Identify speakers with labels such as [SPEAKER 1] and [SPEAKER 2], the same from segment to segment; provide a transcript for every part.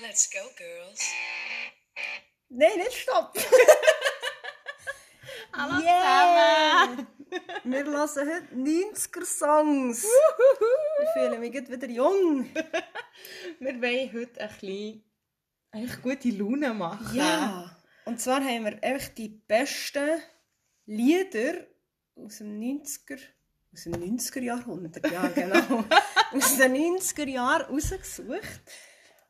[SPEAKER 1] Let's go, girls.
[SPEAKER 2] Nee, dit stop.
[SPEAKER 3] Alles
[SPEAKER 2] Yeah.
[SPEAKER 3] zusammen.
[SPEAKER 2] Wir hören heute 90er-Songs. Ich fühle mich gerade wieder jung.
[SPEAKER 3] Wir wollen heute ein bisschen eigentlich gute Laune machen.
[SPEAKER 2] Und zwar haben wir echt die besten Lieder aus dem 90er... Aus dem 90er-Jahrhundert, ja genau. aus den 90er-Jahren rausgesucht.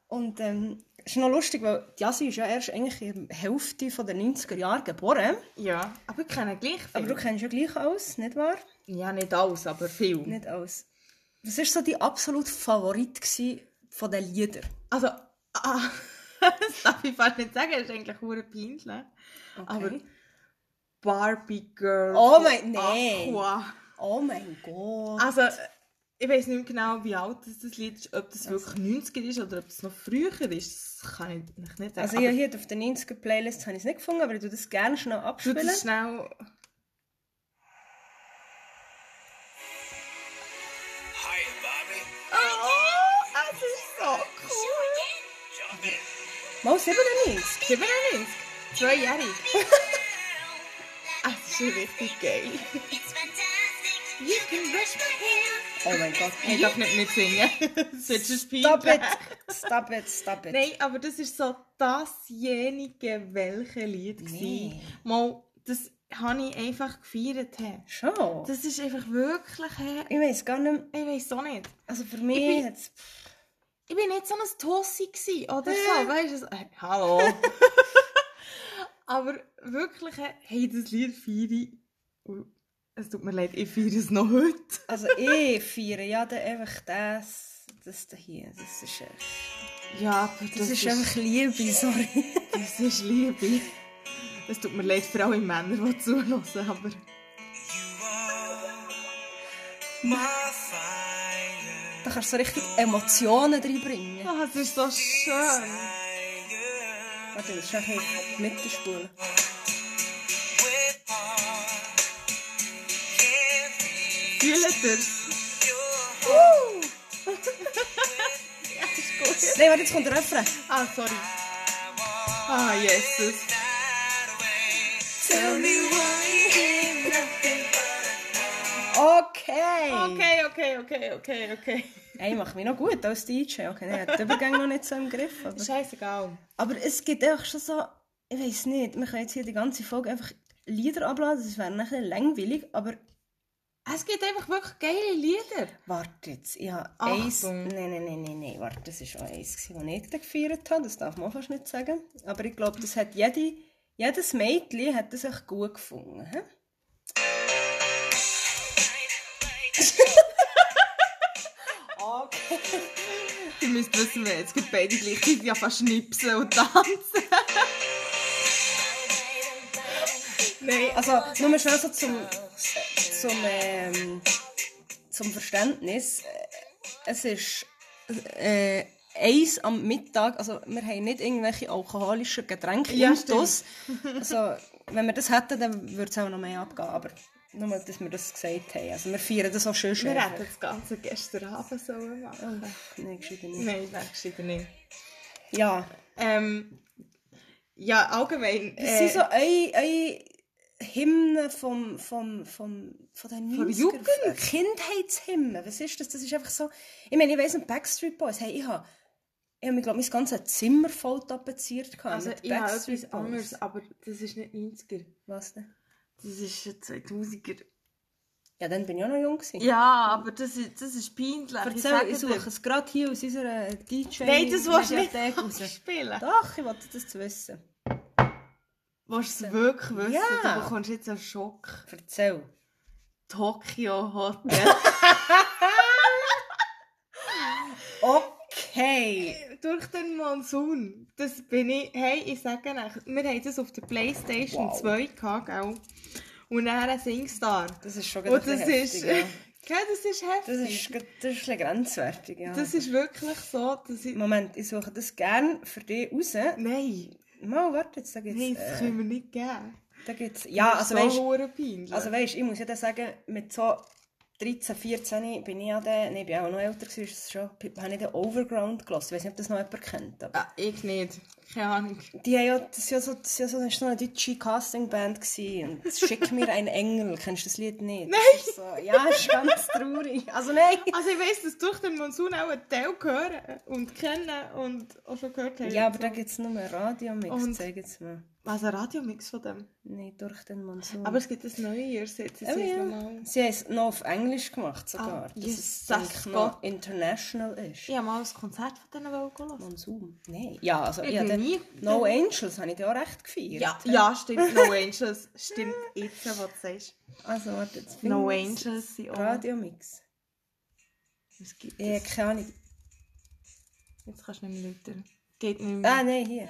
[SPEAKER 2] Und ähm, es ist noch lustig, weil Jasi ist ja erst eigentlich in der Hälfte von den 90er-Jahren geboren.
[SPEAKER 3] Ja, aber ich kenne gleich viel.
[SPEAKER 2] Aber du kennst ja gleich alles, nicht wahr?
[SPEAKER 3] ja, nicht alles, aber viel.
[SPEAKER 2] Nicht alles. Was war so dein absolut Favorit gsi von den Liedern?
[SPEAKER 3] Also, ah, das darf ich fast nicht sagen, das ist eigentlich hure peinlich. Aber Barbie Girl.
[SPEAKER 2] Oh
[SPEAKER 3] von
[SPEAKER 2] mein- nee.
[SPEAKER 3] Aqua.
[SPEAKER 2] oh mein Gott.
[SPEAKER 3] Also, ich weiß nicht mehr genau, wie alt das das Lied ist, ob das wirklich 90er ist oder ob das noch früher ist. Das kann ich eigentlich nicht sagen.
[SPEAKER 2] Also
[SPEAKER 3] aber
[SPEAKER 2] ja, hier auf der 90er-Playlist habe ich es nicht gefunden, aber ich würde das gerne schnell
[SPEAKER 3] du
[SPEAKER 2] abspielen.
[SPEAKER 3] das schnell.
[SPEAKER 4] Hi, Bobby.
[SPEAKER 3] Oh, es ist so cool.
[SPEAKER 4] Jump in.
[SPEAKER 2] Mal 97.
[SPEAKER 3] 97, zweijährig. es ist richtig geil. You can brush my hair.
[SPEAKER 2] Oh mein Gott.
[SPEAKER 3] Ich darf nicht mitsingen. Das wird schon
[SPEAKER 2] Stop
[SPEAKER 3] peinlich.
[SPEAKER 2] it. Stop it, stop it.
[SPEAKER 3] Nein, aber das ist so dasjenige, welche Lied war.
[SPEAKER 2] Nee.
[SPEAKER 3] Mal, das habe ich einfach gefeiert. hä.
[SPEAKER 2] Schon.
[SPEAKER 3] Das ist dus einfach wirklich... hä,
[SPEAKER 2] Ich weiß gar nicht.
[SPEAKER 3] Ich weiß auch nicht.
[SPEAKER 2] Also für
[SPEAKER 3] Ich
[SPEAKER 2] mich
[SPEAKER 3] bin-
[SPEAKER 2] hat es...
[SPEAKER 3] Ich bin nicht so ein Tossi gsi oder
[SPEAKER 2] Ja.
[SPEAKER 3] so, weißt du? so, äh, hallo. Aber wirklich, äh, hey, das Lied feiere ich. oh, Es tut mir leid, ich feiere es noch heute.
[SPEAKER 2] Also ich feiere ja dann einfach das... Das da hier. Das ist... Äh,
[SPEAKER 3] Ja, aber das,
[SPEAKER 2] das, ist einfach Liebe, sorry.
[SPEAKER 3] das ist Liebe. Es tut mir leid für alle Männer, die zulassen, aber
[SPEAKER 4] You are my fire.
[SPEAKER 2] Da kannst du so richtig Emotionen reinbringen.
[SPEAKER 3] Ah, es ist so schön.
[SPEAKER 4] Tiger.
[SPEAKER 2] Warte, das ist ein bisschen mit der Spur.
[SPEAKER 4] With heart. Can't be
[SPEAKER 3] Fühlt ihr es?
[SPEAKER 4] your
[SPEAKER 2] Nein, warte, jetzt kommt der Refrain.
[SPEAKER 3] Ah, sorry. Ah, Jesus.
[SPEAKER 2] Tell me Okay.
[SPEAKER 3] Okay, okay, okay, okay, okay.
[SPEAKER 2] Hey, mach mich noch gut als DJ. Okay, nein, hat den Übergang noch nicht so im Griff. Aber,
[SPEAKER 3] Scheißegal.
[SPEAKER 2] aber es gibt einfach schon so... Ich weiß nicht, wir können jetzt hier die ganze Folge einfach Lieder abladen. Das wäre ein bisschen langweilig, aber...
[SPEAKER 3] Es gibt einfach wirklich geile Lieder.
[SPEAKER 2] Warte jetzt, ich habe
[SPEAKER 3] Achtung.
[SPEAKER 2] eins... Nein, nein, nein, nein, nein, warte, das war auch eins, gewesen, das ich dann gefeiert habe. Das darf man auch fast nicht sagen. Aber ich glaube, das hat jede... Jedes Mädchen hat das echt gut gefunden. He?
[SPEAKER 3] Ihr müsst wissen, wir jetzt gibt beide gleich sind ja fast schnipsen und tanzen. Nein,
[SPEAKER 2] Also, nur mal schnell so zum, äh, zum, ähm, zum Verständnis. Äh, Es ist äh, eins am Mittag, also wir haben nicht irgendwelche alkoholischen Getränke
[SPEAKER 3] Ja,
[SPEAKER 2] im Stuss. Also, wenn wir das hätten, dann würde es auch noch mehr abgehen, aber nur, mal, dass wir das gesagt haben. Also, wir feiern das auch schön schön.
[SPEAKER 3] wir hätten das Ganze gestern Abend so machen.
[SPEAKER 2] Nein, gescheiter nicht.
[SPEAKER 3] Nein, nein, gescheiter nicht.
[SPEAKER 2] Ja,
[SPEAKER 3] Ähm, ja, allgemein. äh,
[SPEAKER 2] das sind so eure, eure Hymnen vom, vom, vom, von den
[SPEAKER 3] Von
[SPEAKER 2] 90er,
[SPEAKER 3] Jugend.
[SPEAKER 2] Kindheitshymnen. Was ist das? Das ist einfach so... Ich meine, ich weiss nicht, Backstreet Boys, hey, ich habe... Ich habe, glaube mein ganzes Zimmer voll tapeziert gehabt
[SPEAKER 3] also,
[SPEAKER 2] mit
[SPEAKER 3] ich habe
[SPEAKER 2] Backstreet
[SPEAKER 3] etwas
[SPEAKER 2] Boys.
[SPEAKER 3] anderes, aber das ist nicht 90er.
[SPEAKER 2] Was denn?
[SPEAKER 3] Das ist ein 2000er.
[SPEAKER 2] Ja, dann bin ich auch noch jung gewesen.
[SPEAKER 3] Ja, aber das ist, das ist peinlich.
[SPEAKER 2] Erzähl, ich suche es gerade hier aus unserer dj
[SPEAKER 3] Nein, das willst du nicht
[SPEAKER 2] Mediathek raus.
[SPEAKER 3] spielen.
[SPEAKER 2] Doch, ich wollte das zu wissen.
[SPEAKER 3] Willst du es wirklich wissen?
[SPEAKER 2] Ja.
[SPEAKER 3] Du bekommst jetzt einen Schock.
[SPEAKER 2] Erzähl.
[SPEAKER 3] Tokyo Hotel.
[SPEAKER 2] Okay.
[SPEAKER 3] durch den Monsun. Das bin ich. Hey, ich sage euch, wir haben das auf der Playstation
[SPEAKER 2] Wow.
[SPEAKER 3] 2 gehabt, gell? Und dann Singstar.
[SPEAKER 2] Das ist schon
[SPEAKER 3] Und
[SPEAKER 2] gerade
[SPEAKER 3] das
[SPEAKER 2] ein
[SPEAKER 3] ist.
[SPEAKER 2] bisschen
[SPEAKER 3] Gell,
[SPEAKER 2] heftig, ja. Das
[SPEAKER 3] das ist heftig.
[SPEAKER 2] ist, das ist ein bisschen grenzwertig, ja.
[SPEAKER 3] Das ist wirklich so, dass ich.
[SPEAKER 2] Moment, ich suche das gerne für dich raus.
[SPEAKER 3] Nein,
[SPEAKER 2] Mal, warte, jetzt, da gibt's,
[SPEAKER 3] nein, das
[SPEAKER 2] äh,
[SPEAKER 3] können wir nicht geben.
[SPEAKER 2] da gibt's, ja, also
[SPEAKER 3] das
[SPEAKER 2] weisst,
[SPEAKER 3] ist so weisst, peinlich.
[SPEAKER 2] also weisst, ich muss ja dann sagen, mit so 13, 14 bin ich an den, nee, ich bin auch noch älter gewesen, ist es schon, habe ich den Overground gelassen. Ich weiß nicht, ob das noch jemand kennt. Aber
[SPEAKER 3] Ja, Ah, ich nicht. Keine Ahnung.
[SPEAKER 2] die haben ja, das ist ja so, das ist ja so, das ist so eine deutsche Castingband gewesen. Und Schick mir ein Engel, kennst du das Lied nicht? Nein! Das ist so, ja, ist ganz traurig. Also nein!
[SPEAKER 3] Also ich weiss, dass durch den Monsun auch ein Teil hören und kennen und auch schon gehört haben.
[SPEAKER 2] Ja, aber da gibt es nur einen Radiomix,
[SPEAKER 3] Und-
[SPEAKER 2] zeig jetzt mal.
[SPEAKER 3] Was ein Radiomix von dem.
[SPEAKER 2] Nein, durch den Monsun.
[SPEAKER 3] Aber es gibt ein neues jetzt.
[SPEAKER 2] Oh
[SPEAKER 3] Oh,
[SPEAKER 2] ja.
[SPEAKER 3] ja.
[SPEAKER 2] Sie haben es noch auf Englisch gemacht sogar,
[SPEAKER 3] Ah,
[SPEAKER 2] dass
[SPEAKER 3] Jesus
[SPEAKER 2] es eigentlich noch international ist.
[SPEAKER 3] Ich habe mal ein Konzert von denen gehört.
[SPEAKER 2] Monsun? Nein. Ja, also
[SPEAKER 3] Ich
[SPEAKER 2] ich, habe
[SPEAKER 3] bin
[SPEAKER 2] den-
[SPEAKER 3] nie-
[SPEAKER 2] No Angels habe ich da auch recht gefeiert.
[SPEAKER 3] Ja, ja, stimmt. No Angels. Stimmt jetzt, was du sagst.
[SPEAKER 2] Also warte, jetzt finde
[SPEAKER 3] No
[SPEAKER 2] ich es.
[SPEAKER 3] Angels sind auch...
[SPEAKER 2] Radiomix.
[SPEAKER 3] Was gibt
[SPEAKER 2] Ich habe
[SPEAKER 3] es?
[SPEAKER 2] keine Ahnung.
[SPEAKER 3] Jetzt kannst du nicht mehr läuten. Geht nicht mehr. Äh,
[SPEAKER 2] Ah, nein, hier.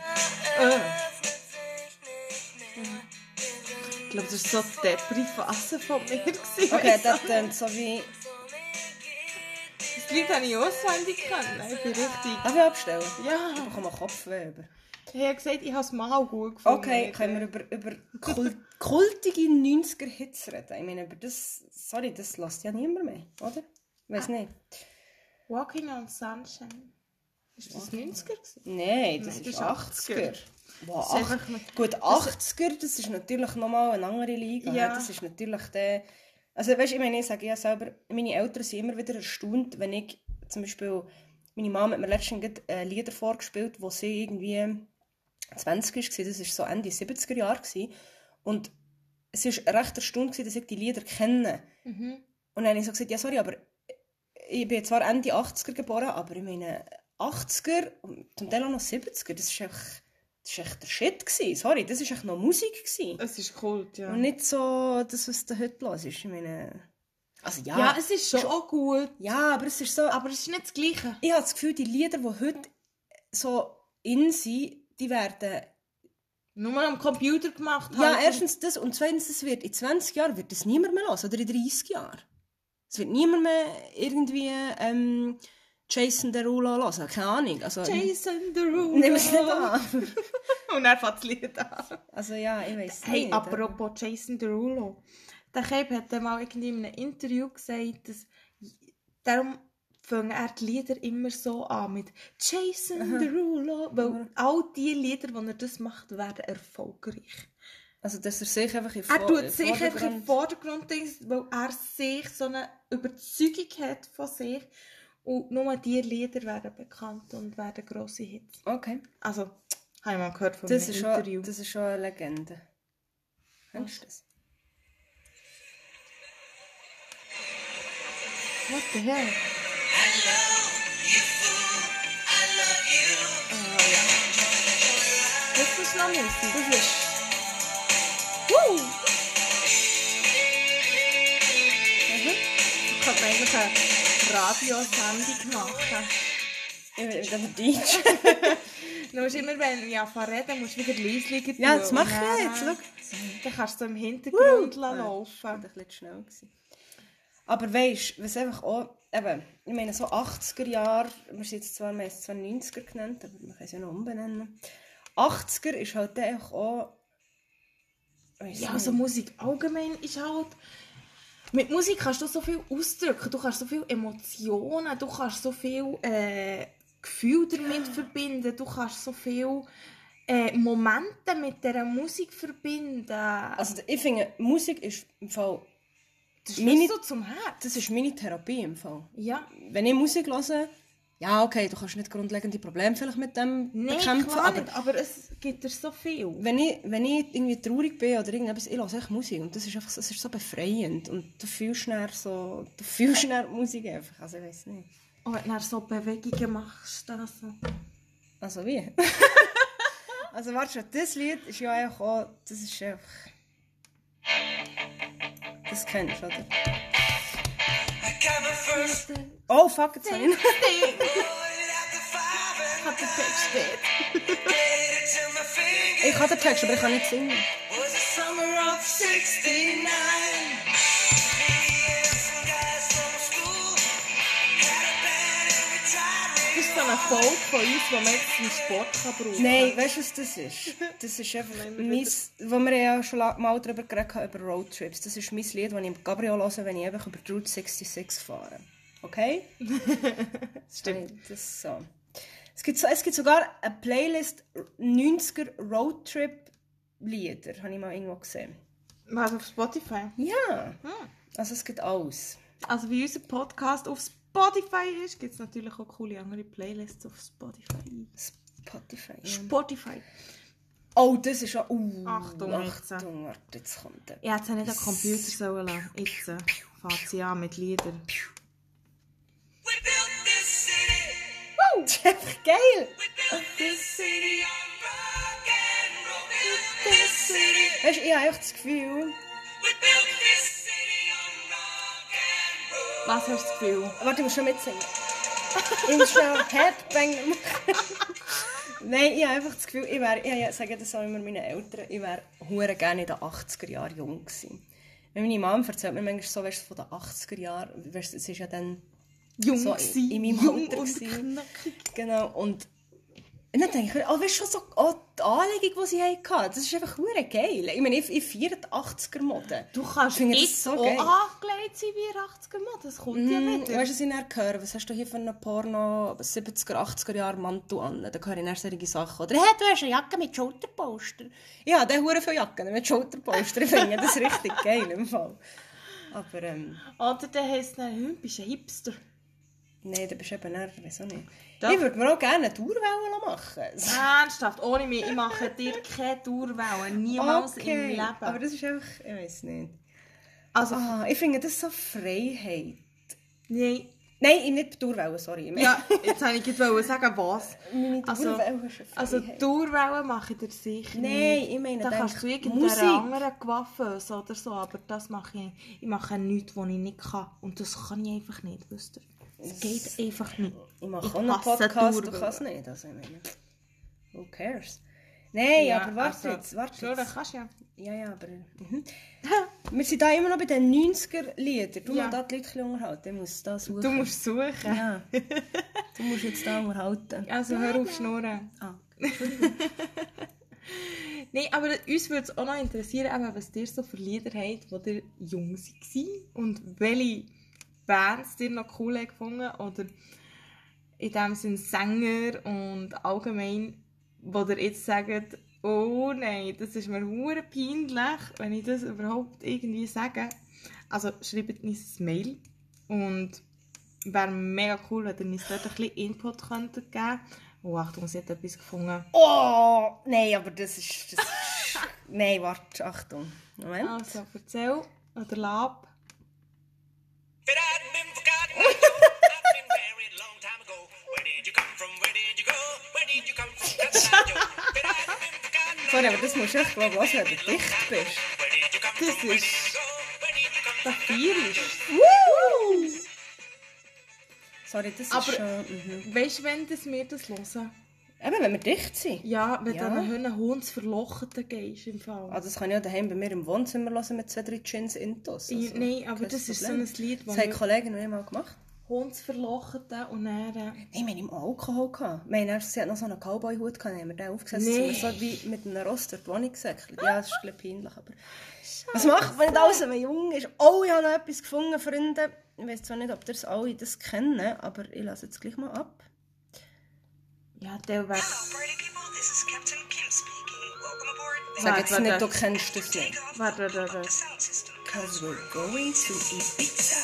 [SPEAKER 3] Ich glaube, das war so der Privasse von mir. gewesen.
[SPEAKER 2] Okay, das klingt so wie...
[SPEAKER 3] Das Lied habe ich auswendig können. Ich bin richtig...
[SPEAKER 2] Darf ich abstellen? Ich
[SPEAKER 3] Ja.
[SPEAKER 2] bekomme einen Kopfweh über.
[SPEAKER 3] Ich habe gesagt, ich habe es mal gut gefunden.
[SPEAKER 2] Okay, können wir über, über kul kultige 90er-Hits reden? Ich meine, über das... Sorry, das lässt ja niemand mehr, oder? Weiß
[SPEAKER 3] Ah.
[SPEAKER 2] nicht.
[SPEAKER 3] Walking on Sunshine. Ist das 90er? gewesen?
[SPEAKER 2] Nein, das
[SPEAKER 3] Nein,
[SPEAKER 2] ist 80er. Wow,
[SPEAKER 3] Das ist
[SPEAKER 2] acht-
[SPEAKER 3] einfach-
[SPEAKER 2] Gut, 80er, das ist natürlich nochmal eine andere Liga.
[SPEAKER 3] Ja.
[SPEAKER 2] Ja. Das ist natürlich der... Also weißt, ich meine, ich sage ja selber, meine Eltern sind immer wieder erstaunt, wenn ich zum Beispiel... Meine Mama hat mir letztens gerade, äh, Lieder vorgespielt, wo sie irgendwie 20 war. Das war so Ende 70er Jahre. gewesen. Und es war recht erstaunt, gewesen, dass ich die Lieder kenne.
[SPEAKER 3] Mhm.
[SPEAKER 2] Und dann habe ich so gesagt, ja sorry, aber äh, ich bin zwar Ende 80er geboren, aber ich meine 80er und zum Teil auch noch 70er, das ist echt, das ist echt der Shit gewesen. Sorry, das ist echt noch Musik gewesen.
[SPEAKER 3] Es ist Kult, ja.
[SPEAKER 2] Und nicht so das, was du heute hörst. Ich meine, also ja,
[SPEAKER 3] ja, es ist schon auch gut.
[SPEAKER 2] ja, aber es ist so,
[SPEAKER 3] Aber es ist nicht das Gleiche.
[SPEAKER 2] ich habe das Gefühl, die Lieder, die heute so in sind, die werden,
[SPEAKER 3] Nur am Computer gemacht.
[SPEAKER 2] ja
[SPEAKER 3] halt.
[SPEAKER 2] erstens das und zweitens, das wird in 20 Jahren wird das niemand mehr hören oder in 30 Jahren. Es wird niemand mehr irgendwie ähm, Jason Derulo hören, keine Ahnung. Also,
[SPEAKER 3] Jason Derulo. Oh,
[SPEAKER 2] Nimm es nicht an.
[SPEAKER 3] Und er fängt das Lied an.
[SPEAKER 2] Also ja, ich weiß
[SPEAKER 3] Hey,
[SPEAKER 2] nicht.
[SPEAKER 3] apropos Jason Derulo. Der Keb hat dann mal irgendwie in einem Interview gesagt, dass... Darum fangen er die Lieder immer so an mit Jason Derulo. Weil all die Lieder, die er das macht, werden erfolgreich.
[SPEAKER 2] Also dass er sich einfach in
[SPEAKER 3] Er
[SPEAKER 2] Vor-
[SPEAKER 3] tut sich einfach
[SPEAKER 2] Vordergrund-
[SPEAKER 3] im Vordergrund, dings, weil er sich so eine Überzeugung hat von sich. Und nur diese Lieder werden bekannt und werden grosse Hits.
[SPEAKER 2] Okay,
[SPEAKER 3] Also, habe ich mal gehört von
[SPEAKER 2] das
[SPEAKER 3] einem
[SPEAKER 2] ist,
[SPEAKER 3] Interview.
[SPEAKER 2] schon, das ist schon eine Legende. Kennst du das?
[SPEAKER 3] What the hell? Ah, Das ist noch Musik. Das ist... Woo! Mhm. Ich könnte eigentlich eine Radiosendung machen.
[SPEAKER 2] Ich bin wieder DJ.
[SPEAKER 3] Nur ist immer, wenn ich anfange zu reden, musst du wieder leise tun.
[SPEAKER 2] ja, das mache
[SPEAKER 3] Und
[SPEAKER 2] ich
[SPEAKER 3] dann-
[SPEAKER 2] jetzt, schau.
[SPEAKER 3] Dann kannst du so im Hintergrund
[SPEAKER 2] Woo!
[SPEAKER 3] lassen
[SPEAKER 2] war ein
[SPEAKER 3] laufen.
[SPEAKER 2] bisschen schnell. Gewesen. Aber weisst du, was einfach auch, eben, ich meine, so 80er Jahre, wir sind jetzt zwar, wir haben es zwar 90er genannt, aber man kann es ja noch umbenennen. 80er ist halt dann einfach auch, weiss
[SPEAKER 3] Ja,
[SPEAKER 2] nicht.
[SPEAKER 3] also Musik allgemein ist halt... Mit Musik kannst du so viel ausdrücken, du kannst so viel Emotionen, du kannst so viel äh, Gefühl damit verbinden, du kannst so viel äh, Momente mit dieser Musik verbinden.
[SPEAKER 2] Also ich finde, Musik ist im Fall,
[SPEAKER 3] das
[SPEAKER 2] meine-
[SPEAKER 3] so zum Herz.
[SPEAKER 2] das ist meine Therapie im Fall.
[SPEAKER 3] Ja,
[SPEAKER 2] Wenn ich Musik höre, ja okay, du kannst nicht grundlegende Probleme vielleicht mit dem
[SPEAKER 3] nein,
[SPEAKER 2] bekämpfen,
[SPEAKER 3] klar
[SPEAKER 2] aber
[SPEAKER 3] nicht, aber es gibt dir so viel.
[SPEAKER 2] wenn ich, wenn ich irgendwie traurig bin oder irgendetwas, ich höre echt Musik und das ist einfach so, es ist so befreiend und du fühlst schnell so, du fühlst schnell die Musik einfach, also ich weiß nicht.
[SPEAKER 3] Und Oh, wenn du dann so Bewegungen machst, dann so...
[SPEAKER 2] Also wie? also warte schon, das Lied ist ja einfach auch, das ist einfach... Das kennst du, oder?
[SPEAKER 4] I got my first
[SPEAKER 2] Oh fuck, jetzt habe ich noch-
[SPEAKER 4] boy out the fire and
[SPEAKER 3] hat der Text steht.
[SPEAKER 4] laid it to my finger.
[SPEAKER 2] Ich kann den Text, aber ich kann nicht singen.
[SPEAKER 4] Was the summer of 69. Me and some guys from school had a band and we tried
[SPEAKER 3] Das ist so ein eine Folge von uns, die man jetzt im Sport kann brauchen kann.
[SPEAKER 2] Nein, weißt du, was das ist? Das ist einfach
[SPEAKER 3] Nein,
[SPEAKER 2] mein, wo wir ja schon la- mal darüber geredet haben, über Roadtrips. Das ist mein Lied, das ich im Cabrio höre, wenn ich einfach über die Route 66 fahre. Okay?
[SPEAKER 3] Stimmt.
[SPEAKER 2] Nein, Das ist so. Es gibt, so- es gibt sogar eine Playlist 90er Roadtrip Lieder, habe ich mal irgendwo gesehen.
[SPEAKER 3] Was auf Spotify?
[SPEAKER 2] Ja,
[SPEAKER 3] Hm.
[SPEAKER 2] also es gibt alles.
[SPEAKER 3] Also wie unser Podcast auf Spotify ist, gibt es natürlich auch coole andere Playlists auf Spotify.
[SPEAKER 2] Spotify. Ja.
[SPEAKER 3] Spotify.
[SPEAKER 2] Oh, das ist ja. Uh,
[SPEAKER 3] Achtung, jetzt.
[SPEAKER 2] Achtung, warte, jetzt kommt der.
[SPEAKER 3] Ja, jetzt habe ich den Computer sollen lassen. Jetzt äh, fängt sie an mit Liedern.
[SPEAKER 4] We built this city.
[SPEAKER 2] Wow, das ist einfach geil!
[SPEAKER 4] We built this city on rock and roll. We built this city.
[SPEAKER 2] Weißt du, ich habe echt das Gefühl.
[SPEAKER 4] We built this city on rock and roll.
[SPEAKER 3] Was hast du das Gefühl?
[SPEAKER 2] Warte, ich muss schon mitsingen. Ich muss schnell Headbang machen. Nein, ich habe einfach das Gefühl, ich wäre, ich sage das auch immer meinen Eltern, ich wäre hure gerne in den 80er Jahren jung gewesen. Wenn meine Mom erzählt mir manchmal so, weißt du, von den 80er Jahren, weißt du, es ist ja dann,
[SPEAKER 3] Jung
[SPEAKER 2] So, in-
[SPEAKER 3] sein,
[SPEAKER 2] in meinem
[SPEAKER 3] jung
[SPEAKER 2] Alter
[SPEAKER 3] und
[SPEAKER 2] gewesen.
[SPEAKER 3] knackig.
[SPEAKER 2] genau, und und dann denke ich, oh, weißt du, schon so, oh, die Anlegung, die sie hatten, das ist einfach hure geil. Ich meine, ich, ich feiere die 80er-Mode.
[SPEAKER 3] Du kannst
[SPEAKER 2] finde das
[SPEAKER 3] jetzt
[SPEAKER 2] so
[SPEAKER 3] auch
[SPEAKER 2] geil.
[SPEAKER 3] angelegt sein wie ein 80er Mann, das kommt ja
[SPEAKER 2] Mm,
[SPEAKER 3] wieder.
[SPEAKER 2] Weißt du, was ich dann höre? Was hast du hier für einen Porno 70er, 80er Jahre Mantel an? Dann höre ich dann solche Sachen. Oder hey, du hast eine Jacke mit Schulterposter. Ja, der hure viele Jacken mit Schulterposter. Ich finde das richtig geil im Fall. Aber ähm,
[SPEAKER 3] Oder dann heisst es dann, hm, bist du ein Hipster.
[SPEAKER 2] nein, da bist du eben eher, wieso nicht?
[SPEAKER 3] Doch.
[SPEAKER 2] Ich würde mir auch gerne eine Tourwelle machen. lassen.
[SPEAKER 3] Ernsthaft, ohne mich, ich mache dir keine Tourwelle, niemals im Leben.
[SPEAKER 2] Aber das ist einfach, ich weiß nicht.
[SPEAKER 3] also,
[SPEAKER 2] Ah, ich finde das so Freiheit.
[SPEAKER 3] nein.
[SPEAKER 2] Nein, ich nicht die Tourwelle, sorry. Ich meine,
[SPEAKER 3] Ja, jetzt wollte ich jetzt wollen sagen, was.
[SPEAKER 2] meine
[SPEAKER 3] also-
[SPEAKER 2] Tourwelle ist eine Freiheit.
[SPEAKER 3] Also Tourwellen mache ich dir sicher
[SPEAKER 2] Nein,
[SPEAKER 3] nicht.
[SPEAKER 2] ich meine,
[SPEAKER 3] Da
[SPEAKER 2] denk,
[SPEAKER 3] kannst du
[SPEAKER 2] Musik.
[SPEAKER 3] irgendeine andere Coiffeuse oder so, aber das mache ich nicht. Ich mache nichts, was ich nicht kann. Und das kann ich einfach nicht, wisst ihr. Es geht einfach nicht.
[SPEAKER 2] Ich mache
[SPEAKER 3] Ich
[SPEAKER 2] auch einen
[SPEAKER 3] hasse
[SPEAKER 2] Podcast, du
[SPEAKER 3] Tourbögen.
[SPEAKER 2] kannst nicht. Also, ich meine, who cares? Nein, aber warte
[SPEAKER 3] also,
[SPEAKER 2] jetzt, warte
[SPEAKER 3] Flora,
[SPEAKER 2] jetzt.
[SPEAKER 3] kannst du ja.
[SPEAKER 2] Ja, ja, aber... Mhm. Wir sind da immer noch bei den 90er-Liedern. Du
[SPEAKER 3] Ja.
[SPEAKER 2] musst da die Leute ein bisschen unterhalten, ich muss da suchen.
[SPEAKER 3] Du musst suchen.
[SPEAKER 2] Ja. du musst jetzt da unterhalten.
[SPEAKER 3] Also hör auf schnurren.
[SPEAKER 2] Ah.
[SPEAKER 3] Nein, aber uns würde es auch noch interessieren, eben, was ihr so für Lieder habt, wo ihr jung waren und welche Bands ihr noch cool habt gefunden oder in dem Sinne Sänger und allgemein, wo ihr jetzt sagt, oh nein, das ist mir hure peinlich, wenn ich das überhaupt irgendwie sage. Also schreibt uns ein Mail und wäre mega cool, wenn ihr uns dort ein bisschen Input könntet geben. Oh Achtung, sie hat etwas gefunden.
[SPEAKER 2] Oh! Nein, aber das ist... Das ist nein, warte, Achtung. Moment.
[SPEAKER 3] Also, erzähl oder lab.
[SPEAKER 4] But I'd been forgotten. I'd been married a long time ago. Where did you come from? Where did you go? Where did you come from? That's not you. But I'd been forgotten.
[SPEAKER 2] Sorry, aber das musst du echt glaub, hören, wenn du dicht bist.
[SPEAKER 4] Where did you come
[SPEAKER 3] Das
[SPEAKER 4] from? Where did
[SPEAKER 3] ist-
[SPEAKER 4] you go? Where did you come from?
[SPEAKER 3] Satirisch.
[SPEAKER 2] Sorry, das
[SPEAKER 3] Aber-
[SPEAKER 2] ist schon... Mhm.
[SPEAKER 3] Weißt du, wenn das wir das hören?
[SPEAKER 2] Eben, wenn wir dicht sind.
[SPEAKER 3] Ja, wenn
[SPEAKER 2] Ja.
[SPEAKER 3] du an einen Hund verlochten gehst im Fall.
[SPEAKER 2] Ah, das kann ich auch daheim bei mir im Wohnzimmer hören mit zwei, drei Gins Intos. Also,
[SPEAKER 3] I- Nein, aber
[SPEAKER 2] kein
[SPEAKER 3] das ist
[SPEAKER 2] Problem.
[SPEAKER 3] so ein Lied, wo
[SPEAKER 2] Das haben
[SPEAKER 3] wir
[SPEAKER 2] Kollegen noch einmal gemacht.
[SPEAKER 3] Hund verlochten und dann... äh,
[SPEAKER 2] Nein, wir haben im Alkohol. gehabt. Wir haben erst- sie hat noch so einen Cowboy-Hut gehabt, dann haben wir den aufgesetzt.
[SPEAKER 3] Nee.
[SPEAKER 2] Nee. So wie mit einem Rost durch die Wohnung gesäckelt. Ja, das ist ein bisschen peinlich, aber... Was macht man nicht alles, wenn man jung ist? Oh, ich habe noch etwas gefunden, Freunde. Ich weiß zwar nicht, ob ihr das alle das kennen, aber ich lasse jetzt gleich mal ab.
[SPEAKER 3] Ja, der wäre...
[SPEAKER 4] Party people, this is Captain Kim speaking. Welcome aboard.
[SPEAKER 2] Sag
[SPEAKER 3] Warte,
[SPEAKER 2] jetzt nicht,
[SPEAKER 3] warte.
[SPEAKER 2] du kennst das nicht.
[SPEAKER 3] Warte, warte, warte.
[SPEAKER 4] Sound system.
[SPEAKER 2] Cause we're going to Ibiza.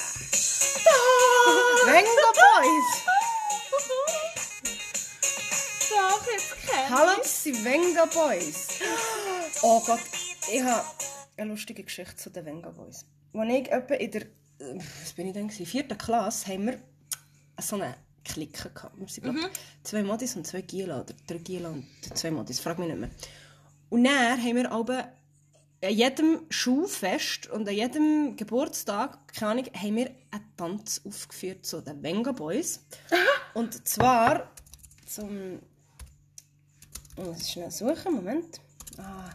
[SPEAKER 3] Ah!
[SPEAKER 2] Venga, Boys!
[SPEAKER 3] Doch, jetzt kenn
[SPEAKER 2] Hallo, das sind Venga Boys. Oh Gott, ich habe eine lustige Geschichte zu den Venga Boys. Als ich etwa in der, äh, was bin ich denn, gewesen? vierten Klasse, haben wir so eine Clique gehabt. Wir sind, glaub, zwei Modis und zwei Gila, oder drei Gila und zwei Modis, frag mich nicht mehr. Und dann haben wir aber an jedem Schulfest und an jedem Geburtstag, keine Ahnung, haben wir einen Tanz aufgeführt zu den Venga Boys. Und zwar zum oh, ich muss schnell suchen, Moment. Ah.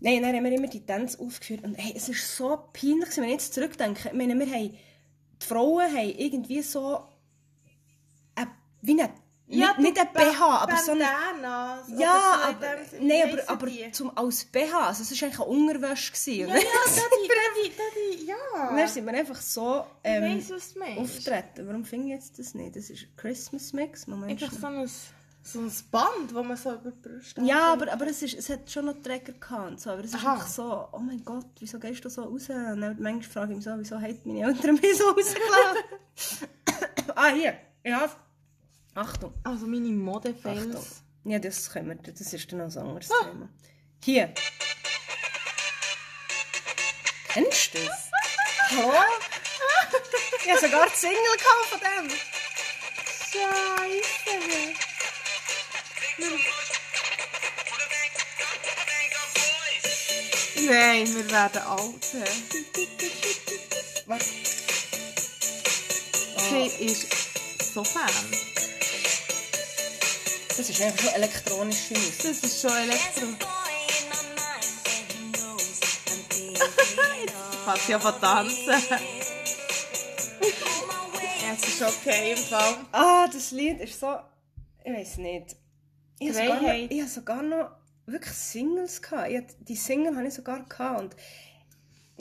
[SPEAKER 2] Nein, dann haben wir immer die Tänze aufgeführt. Und hey, es ist so peinlich, wenn ich jetzt zurückdenke. Ich meine, wir haben, die Frauen haben irgendwie so eine wie ein, nicht, nicht ein BH, aber so ein... Ja, aber, nein, aber, aber zum, als BH, also es war eigentlich eine Unterwäsche. Gewesen,
[SPEAKER 3] Ja, ja, Daddy, Daddy, Daddy, ja.
[SPEAKER 2] Und dann sind wir einfach so ähm,
[SPEAKER 3] weiss, was du meinst.
[SPEAKER 2] auftreten. Warum finde ich jetzt das nicht? Das ist ein Christmas Mix, Moment.
[SPEAKER 3] Einfach
[SPEAKER 2] schnell.
[SPEAKER 3] so ein, so ein Band, das man so über die Brust
[SPEAKER 2] Ja, aber, aber es, ist, es hat schon noch Träger gehabt. und So. Aber es ist
[SPEAKER 3] Aha.
[SPEAKER 2] einfach so, oh mein Gott, wieso gehst du so raus? Und dann manchmal frage ich mich so, wieso haben meine Eltern mich so rausgelassen? ah, hier. Ja. Achtung.
[SPEAKER 3] Also meine Modefails.
[SPEAKER 2] Achtung. Ja, das können wir, das ist dann noch ein anderes Thema. Hier. Kennst du das? Hallo?
[SPEAKER 3] Oh,
[SPEAKER 2] Ich habe sogar die Single gehabt von dem.
[SPEAKER 3] Scheiße. Nein, wir werden alt.
[SPEAKER 2] Was?
[SPEAKER 3] Sie ist so Fan.
[SPEAKER 2] Das ist einfach schon elektronische Musik.
[SPEAKER 3] Das ist schon Elektro. Fast ja von tanzen. ja, es ist okay im Fall.
[SPEAKER 2] Ah, das Lied ist so... Ich weiß nicht. Ich habe sogar, noch-
[SPEAKER 3] Freiheit.
[SPEAKER 2] ich habe sogar noch wirklich Singles gehabt. Ich, hatte- die Single habe ich sogar gehabt und...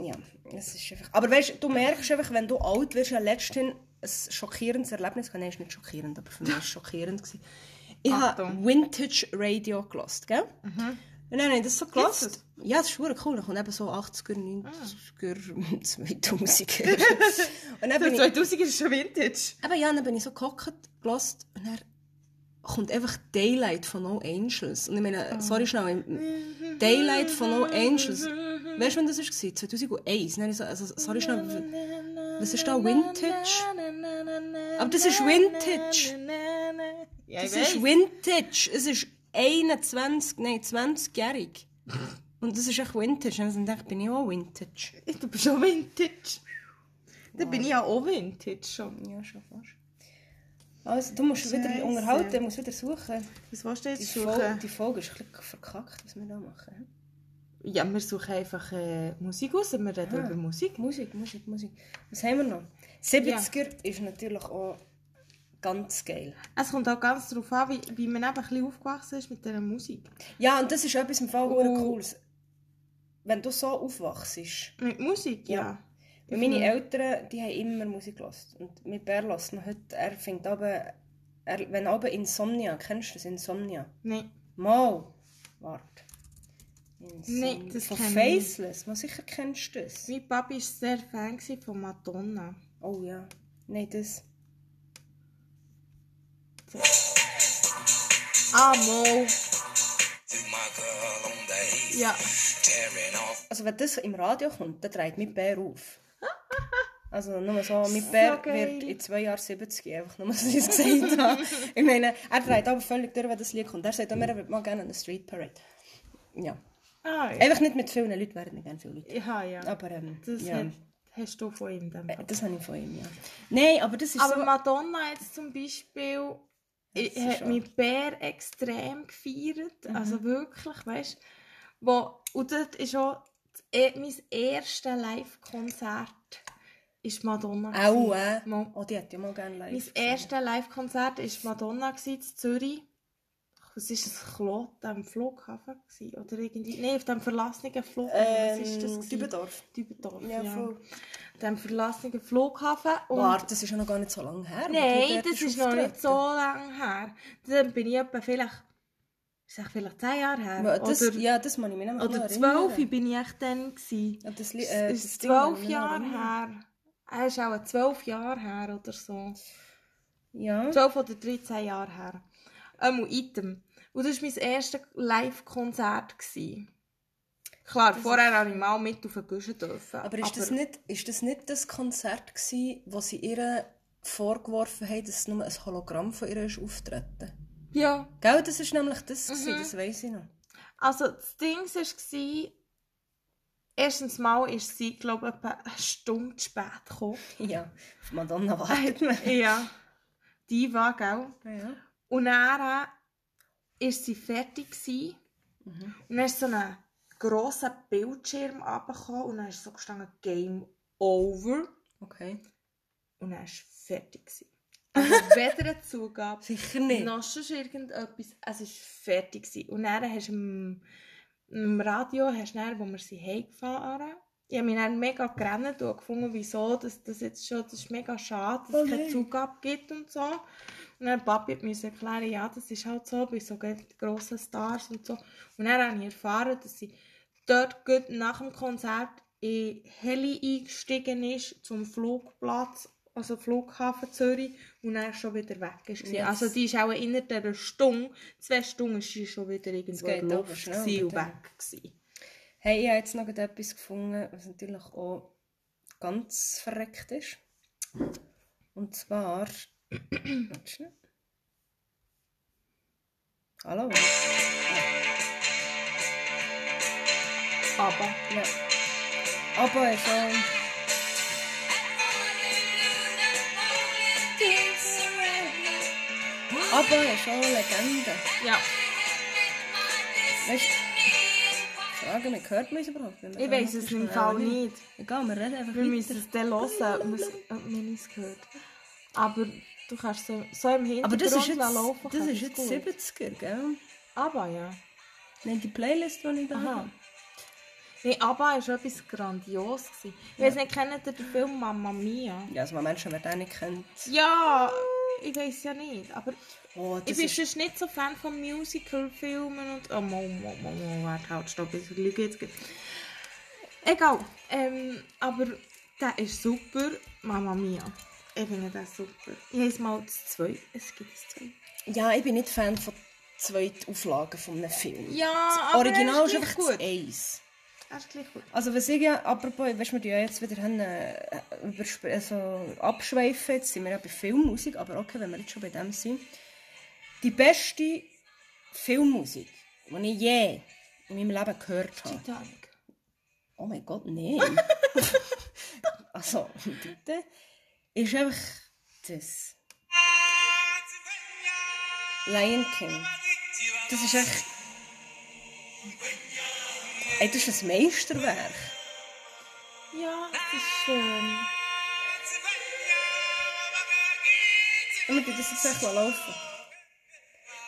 [SPEAKER 2] Ja, es ist einfach... Aber weißt, du merkst einfach, wenn du alt wirst, ja letzthin ein schockierendes Erlebnis... Nein, es ist nicht schockierend, aber für mich war es schockierend. Gewesen. Ich habe
[SPEAKER 3] Achtung. Mhm.
[SPEAKER 2] Vintage Radio gelost, gell? Und dann habe ich das so
[SPEAKER 3] Gibt's
[SPEAKER 2] gelost. Ja, das ist verdammt cool. Da kommt eben so 80er, 90er, 2000er. und dann bin ich...
[SPEAKER 3] 2000 Ah. ist schon Vintage.
[SPEAKER 2] Eben, ja, dann bin ich so gehockt, gelassen und dann kommt einfach Daylight von No Angels. Und ich meine, sorry schnell, ich- Daylight von No Angels. Weißt du, wann das war? 2001. Dann habe ich so, also, sorry schnell, was ist da, Vintage? Aber das ist Vintage.
[SPEAKER 3] Ja, ich
[SPEAKER 2] das ist
[SPEAKER 3] weiß.
[SPEAKER 2] Vintage. Es ist 21, nein, 20-jährig. Und das ist echt Vintage. Und dann dachte ich, bin ich auch Vintage.
[SPEAKER 3] Du bist auch Vintage. Dann bin ich ja auch Vintage schon.
[SPEAKER 2] Ja, schon fast. Also, du musst wieder
[SPEAKER 3] Scheisse.
[SPEAKER 2] unterhalten, du musst wieder suchen.
[SPEAKER 3] Was willst du
[SPEAKER 2] Die,
[SPEAKER 3] jetzt
[SPEAKER 2] Folge,
[SPEAKER 3] suchen?
[SPEAKER 2] die Folge ist ein bisschen verkackt, was wir da machen. hä?
[SPEAKER 3] Ja, wir suchen einfach äh, Musik aus und wir reden
[SPEAKER 2] Ah.
[SPEAKER 3] über Musik.
[SPEAKER 2] Musik, Musik, Musik. Was haben wir noch? 70er ist natürlich auch ganz geil.
[SPEAKER 3] Es kommt auch ganz darauf an, wie, wie man eben ein bisschen aufgewachsen ist mit dieser Musik.
[SPEAKER 2] Ja, und das ist etwas im Fall
[SPEAKER 3] Oh.
[SPEAKER 2] oh. Cooles. Wenn du so aufwachst.
[SPEAKER 3] Mit Musik, ja.
[SPEAKER 2] Ja. Weil meine
[SPEAKER 3] Mhm.
[SPEAKER 2] Eltern, die haben immer Musik gehört. Und mit Bär hört noch heute, er fängt aber, er, wenn aber Insomnia, kennst du das? Insomnia.
[SPEAKER 3] Nein.
[SPEAKER 2] Mal. Warte. Insomnia.
[SPEAKER 3] Nee, das
[SPEAKER 2] Von
[SPEAKER 3] kenn ich
[SPEAKER 2] Faceless. Man sicher kennst du das.
[SPEAKER 3] Mein Papi war sehr Fan gewesen von Madonna.
[SPEAKER 2] Oh ja. Nein, das.
[SPEAKER 3] Ah, Mo. Ja.
[SPEAKER 2] Also wenn das im Radio kommt, dann dreht mein Bär auf. Also nur so, mein Bär
[SPEAKER 3] geil.
[SPEAKER 2] wird in zwei Jahren 70, einfach nur, was ich es gesagt habe. Ich meine, er dreht aber völlig durch, wenn das Lied kommt. Er sagt auch, er würde mal gerne eine Street Parade. Ja.
[SPEAKER 3] Ah, ja.
[SPEAKER 2] Einfach nicht mit vielen Leuten, werden nicht gerne viele Leute.
[SPEAKER 3] Ja, ja.
[SPEAKER 2] Aber ähm,
[SPEAKER 3] Das
[SPEAKER 2] Äh, ja.
[SPEAKER 3] hast, hast du von ihm dann.
[SPEAKER 2] Äh, das habe ich von ihm, ja. Nein, aber das ist
[SPEAKER 3] Aber
[SPEAKER 2] so...
[SPEAKER 3] Madonna jetzt zum Beispiel ich,
[SPEAKER 2] ist
[SPEAKER 3] hat
[SPEAKER 2] schon- Mhm.
[SPEAKER 3] mich Bär extrem gefeiert. Also wirklich, weißt du? Und dort ist auch das e- mein erstes Live-Konzert ist Madonna.
[SPEAKER 2] Auch, äh?
[SPEAKER 3] gewesen. Mo.
[SPEAKER 2] Oh, die hat ja mal gerne live
[SPEAKER 3] Mein
[SPEAKER 2] gesehen.
[SPEAKER 3] erstes Live-Konzert war Madonna gewesen, in Zürich. Es war ein Klot am Flughafen. gewesen, Oder irgendwie. Nein, auf dem verlassenen Flughafen.
[SPEAKER 2] Ähm,
[SPEAKER 3] äh, Was ist das? gewesen?
[SPEAKER 2] Dübendorf.
[SPEAKER 3] Dübendorf,
[SPEAKER 2] Ja,
[SPEAKER 3] ja.
[SPEAKER 2] voll.
[SPEAKER 3] Auf dem verlassenen Flughafen. Und
[SPEAKER 2] Warte, das ist ja noch gar nicht so lange her. wo du
[SPEAKER 3] Nein,
[SPEAKER 2] dort
[SPEAKER 3] das
[SPEAKER 2] bist
[SPEAKER 3] ist noch
[SPEAKER 2] aufgetreten.
[SPEAKER 3] nicht so lange her. Dann bin ich etwa vielleicht, ich sag vielleicht 10 Jahre her.
[SPEAKER 2] Ja, das,
[SPEAKER 3] oder
[SPEAKER 2] ja, das muss ich mich nicht mehr
[SPEAKER 3] oder
[SPEAKER 2] erinnern.
[SPEAKER 3] 12 bin ich echt dann. Gewesen.
[SPEAKER 2] Ja, das, Li-
[SPEAKER 3] Es
[SPEAKER 2] äh, das
[SPEAKER 3] ist
[SPEAKER 2] Ding habe ich
[SPEAKER 3] 12
[SPEAKER 2] nicht mehr
[SPEAKER 3] Jahre
[SPEAKER 2] erinnert.
[SPEAKER 3] her. Er ist auch 12 Jahre her oder so.
[SPEAKER 2] Ja.
[SPEAKER 3] 12 oder 13 Jahre her. Ähm, Item. Und das war mein erstes Live-Konzert. gewesen. Klar, vorher habe ich mal mit auf den Guschen dürfen.
[SPEAKER 2] Aber ist, das nicht, ist das nicht das Konzert gewesen, wo sie ihr vorgeworfen haben, dass nur ein Hologramm von ihr ist auftreten?
[SPEAKER 3] Ja.
[SPEAKER 2] Gell, das ist nämlich das
[SPEAKER 3] Mhm.
[SPEAKER 2] gewesen, das weiss ich noch.
[SPEAKER 3] Also, das Ding war, erstens mal ist sie, glaube ich, etwa eine Stunde zu spät gekommen.
[SPEAKER 2] Ja, auf Madonna wartet man.
[SPEAKER 3] ja. Die war, gell?
[SPEAKER 2] Ja.
[SPEAKER 3] Und dann war sie fertig. gsi
[SPEAKER 2] Mhm.
[SPEAKER 3] Und dann ist so ein grosser Bildschirm runtergekommen und dann ist so gestanden Game Over.
[SPEAKER 2] Okay.
[SPEAKER 3] Und dann war fertig. gsi Weder eine Zugabe,
[SPEAKER 2] Sicher nicht.
[SPEAKER 3] noch sonst irgendetwas. Es war fertig. Gewesen. Und dann hast du im, im Radio, hast du dann, wo wir sie heimgefahren haben, ich habe mich dann mega gerannt und gefunden, wieso das, das jetzt schon, das ist mega schade, dass
[SPEAKER 2] Oh
[SPEAKER 3] es keine
[SPEAKER 2] nein.
[SPEAKER 3] Zugabe gibt und so. Und dann Papi hat mir erklären, ja, das ist halt so, bei so grossen Stars und so. Und dann habe ich erfahren, dass sie dort gut nach dem Konzert in Heli eingestiegen ist, zum Flugplatz, also Flughafen Zürich, und dann schon wieder weg ist.
[SPEAKER 2] Yes.
[SPEAKER 3] Also die ist auch innerhalb dieser Stunde, zwei Stunden ist sie schon wieder irgendwo
[SPEAKER 2] geht
[SPEAKER 3] in der
[SPEAKER 2] aber
[SPEAKER 3] Luft
[SPEAKER 2] schnell
[SPEAKER 3] gewesen und
[SPEAKER 2] mit dem.
[SPEAKER 3] weg gewesen.
[SPEAKER 2] Hey, ich habe jetzt noch etwas gefunden, was natürlich auch ganz verreckt ist. Und zwar. Warte schnell. Hallo?
[SPEAKER 3] Aber...
[SPEAKER 2] Ja. Aber ist auch. Aber ist auch eine Legende.
[SPEAKER 3] Ja,
[SPEAKER 2] Weißt du? Frage mich, hört man uns überhaupt nicht mehr?
[SPEAKER 3] ich weiß es im Fall nicht.
[SPEAKER 2] Egal, wir reden einfach
[SPEAKER 3] Wir müssen
[SPEAKER 2] weiter.
[SPEAKER 3] es dann hören, ob wir's- ob man es gehört. Aber du kannst so, so im Hintergrund
[SPEAKER 2] Aber das ist jetzt,
[SPEAKER 3] laufen,
[SPEAKER 2] das ist jetzt
[SPEAKER 3] gut.
[SPEAKER 2] 70er, gell?
[SPEAKER 3] Aber ja.
[SPEAKER 2] Nein, die Playlist, die ich da
[SPEAKER 3] Aha.
[SPEAKER 2] habe.
[SPEAKER 3] Nee, aber es war etwas grandios. gewesen. Ich weiß nicht, kennt ihr den Film Mamma Mia?
[SPEAKER 2] Ja, also, wenn Menschen, die den nicht kennt.
[SPEAKER 3] Ja, ich weiß ja nicht. Aber
[SPEAKER 2] Oh, das
[SPEAKER 3] ich bin
[SPEAKER 2] ist
[SPEAKER 3] sonst nicht so dus Fan von Musical-Filmen und. Oh, Mo, Mo, Mo, Mo, warte, halt, stopp, ich lüge jetzt. gleich. Egal. Ähm, aber der ist super. Mamma Mia. Ich finde den super. Ich habe mal das zwei. Es gibt das zwei.
[SPEAKER 2] Ja, ich bin nicht Fan von zweiten Auflagen von einem Film.
[SPEAKER 3] Ja,
[SPEAKER 2] das
[SPEAKER 3] aber
[SPEAKER 2] Original
[SPEAKER 3] er
[SPEAKER 2] ist
[SPEAKER 3] ist
[SPEAKER 2] einfach
[SPEAKER 3] gleich
[SPEAKER 2] gut.
[SPEAKER 3] gut.
[SPEAKER 2] das Eis.
[SPEAKER 3] Er ist gleich gut.
[SPEAKER 2] Also was ich ja, apropos, weißt du, wir tun ja jetzt wieder hin, äh, überspr- also abschweifen, jetzt sind wir ja bei Filmmusik, aber okay, wenn wir jetzt schon bei dem sind. Die beste Filmmusik, die ich je in meinem Leben gehört habe.
[SPEAKER 3] Titanic.
[SPEAKER 2] Oh mein Gott, nein. also, bitte. Ist einfach das. Lion King. Das ist echt... Ey, das ist ein Meisterwerk.
[SPEAKER 3] Ja, ehm, es ist schön.
[SPEAKER 2] Und wir tun das jetzt echt mal laufen.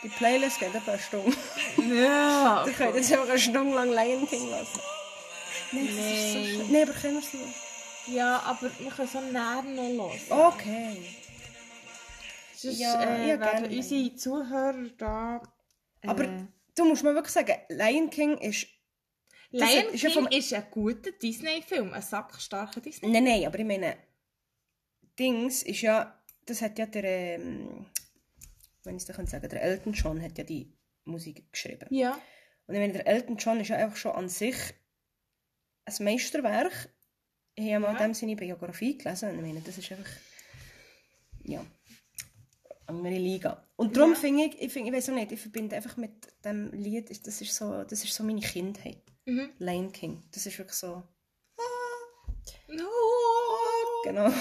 [SPEAKER 2] Die Playlist geht etwa eine Stunde.
[SPEAKER 3] Ja.
[SPEAKER 2] Ich könnte jetzt einfach eine Stunde lang Lion King lassen. Nein, das ist so schön. Nein, aber können wir es nicht.
[SPEAKER 3] Ja, aber wir können so näher noch hören.
[SPEAKER 2] Okay.
[SPEAKER 3] Sonst
[SPEAKER 2] Ja,
[SPEAKER 3] äh,
[SPEAKER 2] ja,
[SPEAKER 3] werden
[SPEAKER 2] gerne.
[SPEAKER 3] unsere Zuhörer da... Äh,
[SPEAKER 2] Aber du musst mir wirklich sagen, Lion King ist... das ist
[SPEAKER 3] Lion ist
[SPEAKER 2] ja
[SPEAKER 3] King
[SPEAKER 2] vom-
[SPEAKER 3] ist ein guter Disney-Film. Ein sackstarker Disney.
[SPEAKER 2] Nein, nein, aber ich meine... Dings ist ja... Das hat ja der... Ähm, wenn ich es dir sagen kann, der Elton John hat ja die Musik geschrieben.
[SPEAKER 3] Ja.
[SPEAKER 2] Und ich meine, der Elton John ist ja einfach schon an sich ein Meisterwerk. Ich habe mal
[SPEAKER 3] Ja.
[SPEAKER 2] dem seine Biografie gelesen und ich meine, das ist einfach... Ja. Andere Liga. Und darum
[SPEAKER 3] Ja.
[SPEAKER 2] finde ich, ich, find, ich weiß auch nicht, ich verbinde einfach mit dem Lied, ist- das ist so, das ist so meine Kindheit.
[SPEAKER 3] Mhm.
[SPEAKER 2] Lion King. Das ist wirklich so...
[SPEAKER 3] No.
[SPEAKER 2] Genau.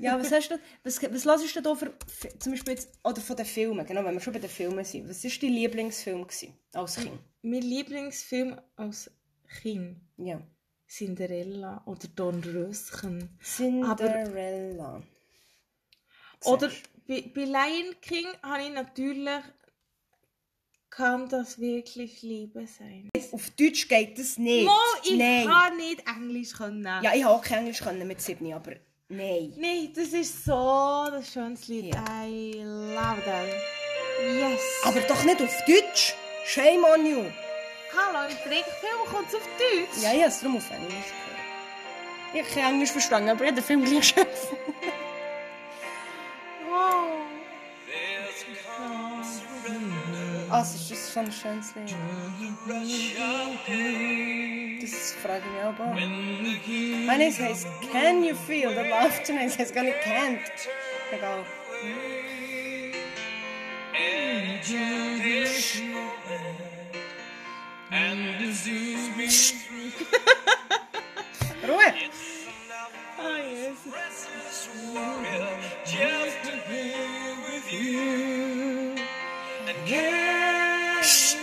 [SPEAKER 2] ja, was hast du, was, was lassest du da für, für- zum Beispiel jetzt, oder von den Filmen, genau, wenn wir schon bei den Filmen sind, was war dein Lieblingsfilm gewesen, als Kind?
[SPEAKER 3] Mein Lieblingsfilm als Kind.
[SPEAKER 2] Ja.
[SPEAKER 3] Cinderella oder Dornröschen.
[SPEAKER 2] Cinderella.
[SPEAKER 3] Oder
[SPEAKER 2] Siehst
[SPEAKER 3] bei, bei Lion King habe ich natürlich kann das wirklich Liebe sein.
[SPEAKER 2] du? Auf Deutsch geht das nicht.
[SPEAKER 3] Mo, ich
[SPEAKER 2] nein.
[SPEAKER 3] kann nicht Englisch können.
[SPEAKER 2] Ja, ich habe auch kein Englisch können mit Sydney, aber nein.
[SPEAKER 3] Nein, das ist so ein schönes Lied.
[SPEAKER 2] Ja.
[SPEAKER 3] I love that. Yes.
[SPEAKER 2] Aber doch nicht auf Deutsch. Shame on you.
[SPEAKER 3] Hallo, im Trickfilm kommt es auf Deutsch.
[SPEAKER 2] Ja, ich habe es darum auf Englisch gehört. Ich habe kein Englisch verstanden, aber ich habe den Film gleich schon.
[SPEAKER 3] Wow.
[SPEAKER 2] Ah, es ist das so ein schönes Lied. Das frage ich mich auch. ab. Meines heißt Can You Feel the Love Tonight? Es heißt gar nicht Can't. Egal. Ruhe!
[SPEAKER 3] Ah, Jesus.
[SPEAKER 2] Du hast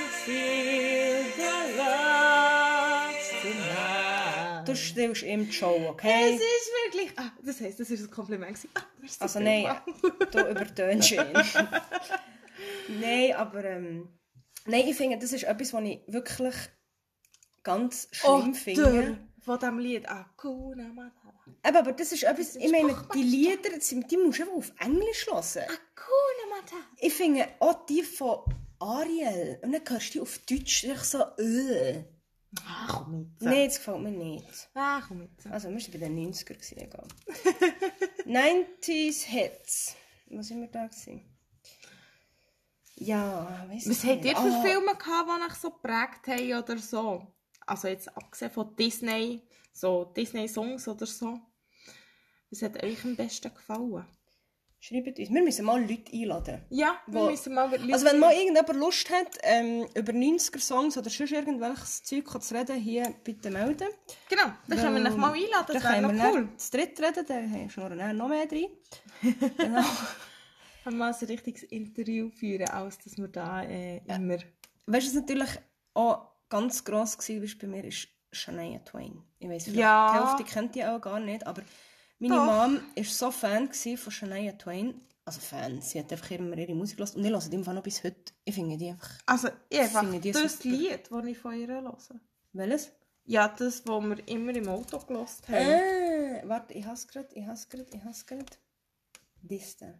[SPEAKER 2] die willst, ihm die Show,
[SPEAKER 3] Es
[SPEAKER 2] okay?
[SPEAKER 3] ist wirklich. Ah, das heisst, das ist ein Kompliment. gewesen. Ah, merci,
[SPEAKER 2] Also nein,
[SPEAKER 3] vielmals.
[SPEAKER 2] du übertönst ihn. nein, aber ähm, nein, ich finde, das ist etwas, was ich wirklich ganz
[SPEAKER 3] Oh,
[SPEAKER 2] schlimm finde.
[SPEAKER 3] Oder von diesem Lied. Akuna Matata.
[SPEAKER 2] Eben, aber das ist etwas,
[SPEAKER 3] ist
[SPEAKER 2] ich meine,
[SPEAKER 3] furchtbar.
[SPEAKER 2] die Lieder, das sind- die musst du einfach auf Englisch hören.
[SPEAKER 3] Akuna Matata.
[SPEAKER 2] Ich finde auch die von Ariel, und dann hörst du die auf Deutsch, ich so, äh.
[SPEAKER 3] Ah, komm mit.
[SPEAKER 2] Nein, das gefällt mir nicht.
[SPEAKER 3] Ah, komm mit.
[SPEAKER 2] Also, wir waren bei den 90er, gewesen, egal. 90s Hits. Was sind wir da? Gewesen? Ja, weiss
[SPEAKER 3] Was
[SPEAKER 2] ich
[SPEAKER 3] habt ihr
[SPEAKER 2] nicht.
[SPEAKER 3] für
[SPEAKER 2] Ah,
[SPEAKER 3] Filme gehabt, die euch so geprägt haben oder so? Also jetzt abgesehen von Disney, so Disney-Songs oder so. Was hat euch am besten gefallen?
[SPEAKER 2] Schreibt uns. Wir müssen mal Leute einladen.
[SPEAKER 3] Ja, wir
[SPEAKER 2] Wo-
[SPEAKER 3] müssen mal Leute...
[SPEAKER 2] Also wenn mal irgendjemand Lust hat, ähm, über 90er-Songs oder sonst irgendwelches Zeug zu reden, hier bitte melden.
[SPEAKER 3] Genau, dann können wir euch mal einladen, das wäre
[SPEAKER 2] können wir
[SPEAKER 3] noch
[SPEAKER 2] dann
[SPEAKER 3] cool.
[SPEAKER 2] zu dritt reden, dann schnurren wir noch mehr Genau. rein.
[SPEAKER 3] Können wir mal ein richtiges Interview führen, als dass wir da äh, immer...
[SPEAKER 2] Weißt du, was natürlich auch ganz gross war ist bei mir, ist Shania Twain. Ich weiss, vielleicht
[SPEAKER 3] Ja.
[SPEAKER 2] die Hälfte kennt die auch gar nicht, aber meine
[SPEAKER 3] Doch.
[SPEAKER 2] Mom war so Fan gewesen von Shania Twain. Also Fan, sie hat einfach immer ihre Musik gelassen und ich höre die einfach noch bis heute. Ich finde die einfach...
[SPEAKER 3] Also ich einfach
[SPEAKER 2] Finde die
[SPEAKER 3] das
[SPEAKER 2] super.
[SPEAKER 3] Lied, das ich von ihr höre.
[SPEAKER 2] Welches?
[SPEAKER 3] Ja, das, das wir immer im Auto gehört haben.
[SPEAKER 2] Äh, warte, ich hasse gerade, ich hasse gerade, ich hasse gerade. Dies da.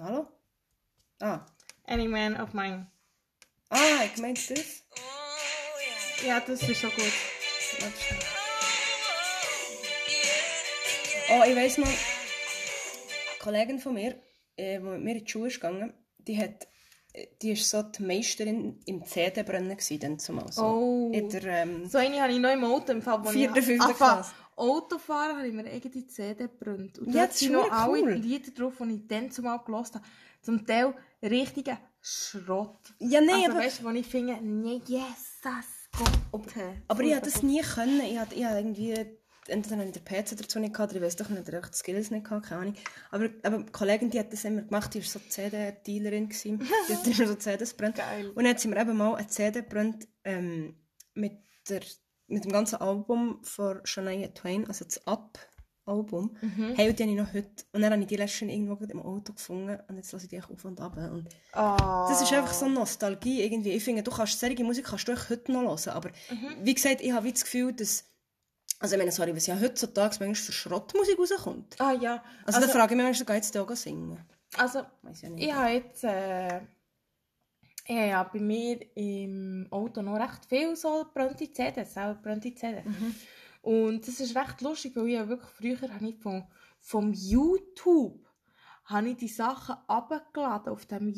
[SPEAKER 2] Hallo? Ah.
[SPEAKER 3] Any Man of Mine.
[SPEAKER 2] Ah, ich meinte das.
[SPEAKER 3] Ja, das ist schon gut.
[SPEAKER 2] Warte schnell. Oh, ich weiss noch, eine Kollegin von mir, äh, die mit mir in die Schule ist gegangen, die hat äh, die war so die Meisterin im CD-Brennen gewesen, dann zumal so.
[SPEAKER 3] Oh.
[SPEAKER 2] In der, ähm,
[SPEAKER 3] So eine habe ich noch im Auto im Fall, wo
[SPEAKER 2] Vierte,
[SPEAKER 3] ich
[SPEAKER 2] fünfte
[SPEAKER 3] angefangen-
[SPEAKER 2] Klasse.
[SPEAKER 3] Autofahren habe ich mir eigene CD gebrannt. Und
[SPEAKER 2] Ja,
[SPEAKER 3] da
[SPEAKER 2] das
[SPEAKER 3] sind
[SPEAKER 2] ist
[SPEAKER 3] noch
[SPEAKER 2] cool.
[SPEAKER 3] alle Lieder drauf, die ich dann zumal gelost habe. Zum Teil richtiger Schrott.
[SPEAKER 2] ja, nein,
[SPEAKER 3] also
[SPEAKER 2] aber...
[SPEAKER 3] weißt du, wo ich finde, nee, yes, das Gott.
[SPEAKER 2] Aber ich hätte das nie können. Ich hatte, ich hatte irgendwie, entweder habe ich den PC dazu nicht gehabt, oder ich weiß doch nicht, oder ich die Skills nicht gehabt, keine Ahnung. Aber, aber die Kollegin, die hat das immer gemacht, die war so CD-Dealerin. gewesen. Die hat immer so CDs brennt.
[SPEAKER 3] Geil.
[SPEAKER 2] Und dann hat sie mir eben mal eine CD brennt ähm, mit, der, mit dem ganzen Album von Shania Twain, also das Up-Album. Hey, und die habe ich noch heute. Und dann habe ich die letzten irgendwo gerade im Auto gefunden und jetzt lasse ich die echt auf und ab. Und
[SPEAKER 3] Ah.
[SPEAKER 2] das ist einfach so eine Nostalgie irgendwie. Ich finde, du kannst solche Musik kannst du echt heute noch hören. Aber
[SPEAKER 3] Mhm.
[SPEAKER 2] wie gesagt, ich habe wie das Gefühl, dass... Also ich meine, sorry, was ja heutzutage manchmal für Schrottmusik rauskommt.
[SPEAKER 3] Ah ja.
[SPEAKER 2] Also, da frage ich mich manchmal, geht es da auch singen?
[SPEAKER 3] Also,
[SPEAKER 2] Weiß ja nicht.
[SPEAKER 3] ich habe jetzt äh, ich habe ja bei mir im Auto noch recht viel so brennte CDs, auch brennte CDs.
[SPEAKER 2] Mhm.
[SPEAKER 3] Und das ist recht lustig, weil ich ja wirklich früher habe ich von, vom YouTube habe ich die Sachen abgeladen auf dem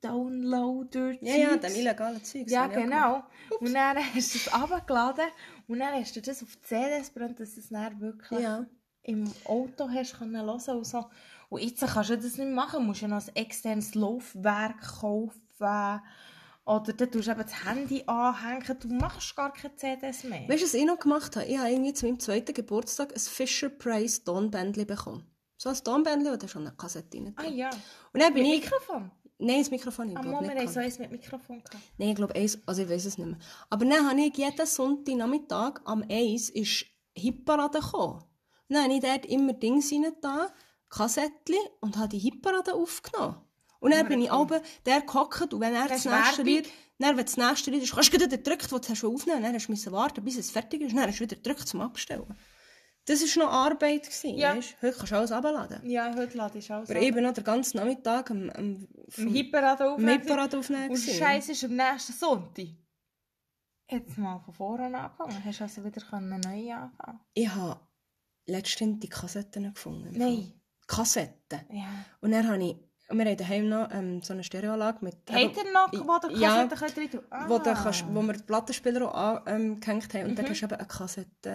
[SPEAKER 3] YouTube-Downloader.
[SPEAKER 2] Ja, ja, dem illegalen Zeug.
[SPEAKER 3] Ja, genau. Und dann hast du es abgeladen und dann hast du das auf die CDs brennt, dass du es dann wirklich
[SPEAKER 2] Ja.
[SPEAKER 3] im Auto hast können hören und so. Und jetzt kannst du das nicht machen, du musst ja noch ein externes Laufwerk kaufen oder dann tust du eben das Handy anhängen, du machst gar keine CDs mehr.
[SPEAKER 2] Weißt du, was ich noch gemacht habe? Ich habe irgendwie zu meinem zweiten Geburtstag ein Fisher Price Tonbändchen bekommen. So ein Tonbändchen, wo da schon eine Kassette rein
[SPEAKER 3] ah ja,
[SPEAKER 2] Und dann bin
[SPEAKER 3] mit
[SPEAKER 2] ich...
[SPEAKER 3] Mikrofon.
[SPEAKER 2] Nein, das Mikrofon, ich
[SPEAKER 3] Am
[SPEAKER 2] glaube
[SPEAKER 3] Morgen
[SPEAKER 2] nicht.
[SPEAKER 3] hatten wir so
[SPEAKER 2] gehabt.
[SPEAKER 3] eins mit Mikrofon. Gehabt.
[SPEAKER 2] Nein, ich glaube eins, also ich weiß es nicht mehr. Aber dann habe ich jeden Sonntagnachmittag am eins ist Hipparade gekommen. Und Dann habe ich dort immer Dinge da, Kassettchen und habe die Hipparade aufgenommen. Und dann bin ich oben der gehockt und wenn er das
[SPEAKER 3] ist
[SPEAKER 2] nächste
[SPEAKER 3] Werbung.
[SPEAKER 2] Lied, dann, wenn das nächste Lied ist, hast du wieder gedrückt, was du hast aufnehmen dann hast du müssen warten, bis es fertig ist, und dann hast du wieder gedrückt zum Abstellen. Das war noch Arbeit. Gewesen,
[SPEAKER 3] Ja.
[SPEAKER 2] weisst du? Heute kannst du alles runterladen.
[SPEAKER 3] Ja, heute lade ich alles
[SPEAKER 2] Aber
[SPEAKER 3] ab.
[SPEAKER 2] eben noch den ganzen Nachmittag am, am,
[SPEAKER 3] Im Hyperrad
[SPEAKER 2] am Hipparade aufnehmen.
[SPEAKER 3] Und
[SPEAKER 2] gewesen.
[SPEAKER 3] Scheiße ist am nächsten Sonntag. Jetzt mal von vorne angefangen. Hast also wieder können neu anfangen?
[SPEAKER 2] Ich habe letztens die Kassetten gefunden.
[SPEAKER 3] Nein.
[SPEAKER 2] Kassetten.
[SPEAKER 3] Ja.
[SPEAKER 2] Und dann habe ich, wir haben daheim noch ähm, so eine Stereoanlage mit...
[SPEAKER 3] Habt ihr noch, wo der
[SPEAKER 2] Ja,
[SPEAKER 3] Kassette könnt rein tun? Ah.
[SPEAKER 2] wo, du kannst, wo wir den Plattenspieler auch angehängt ähm, gehängt haben. Und
[SPEAKER 3] Mhm.
[SPEAKER 2] dann hast du eben eine Kassette,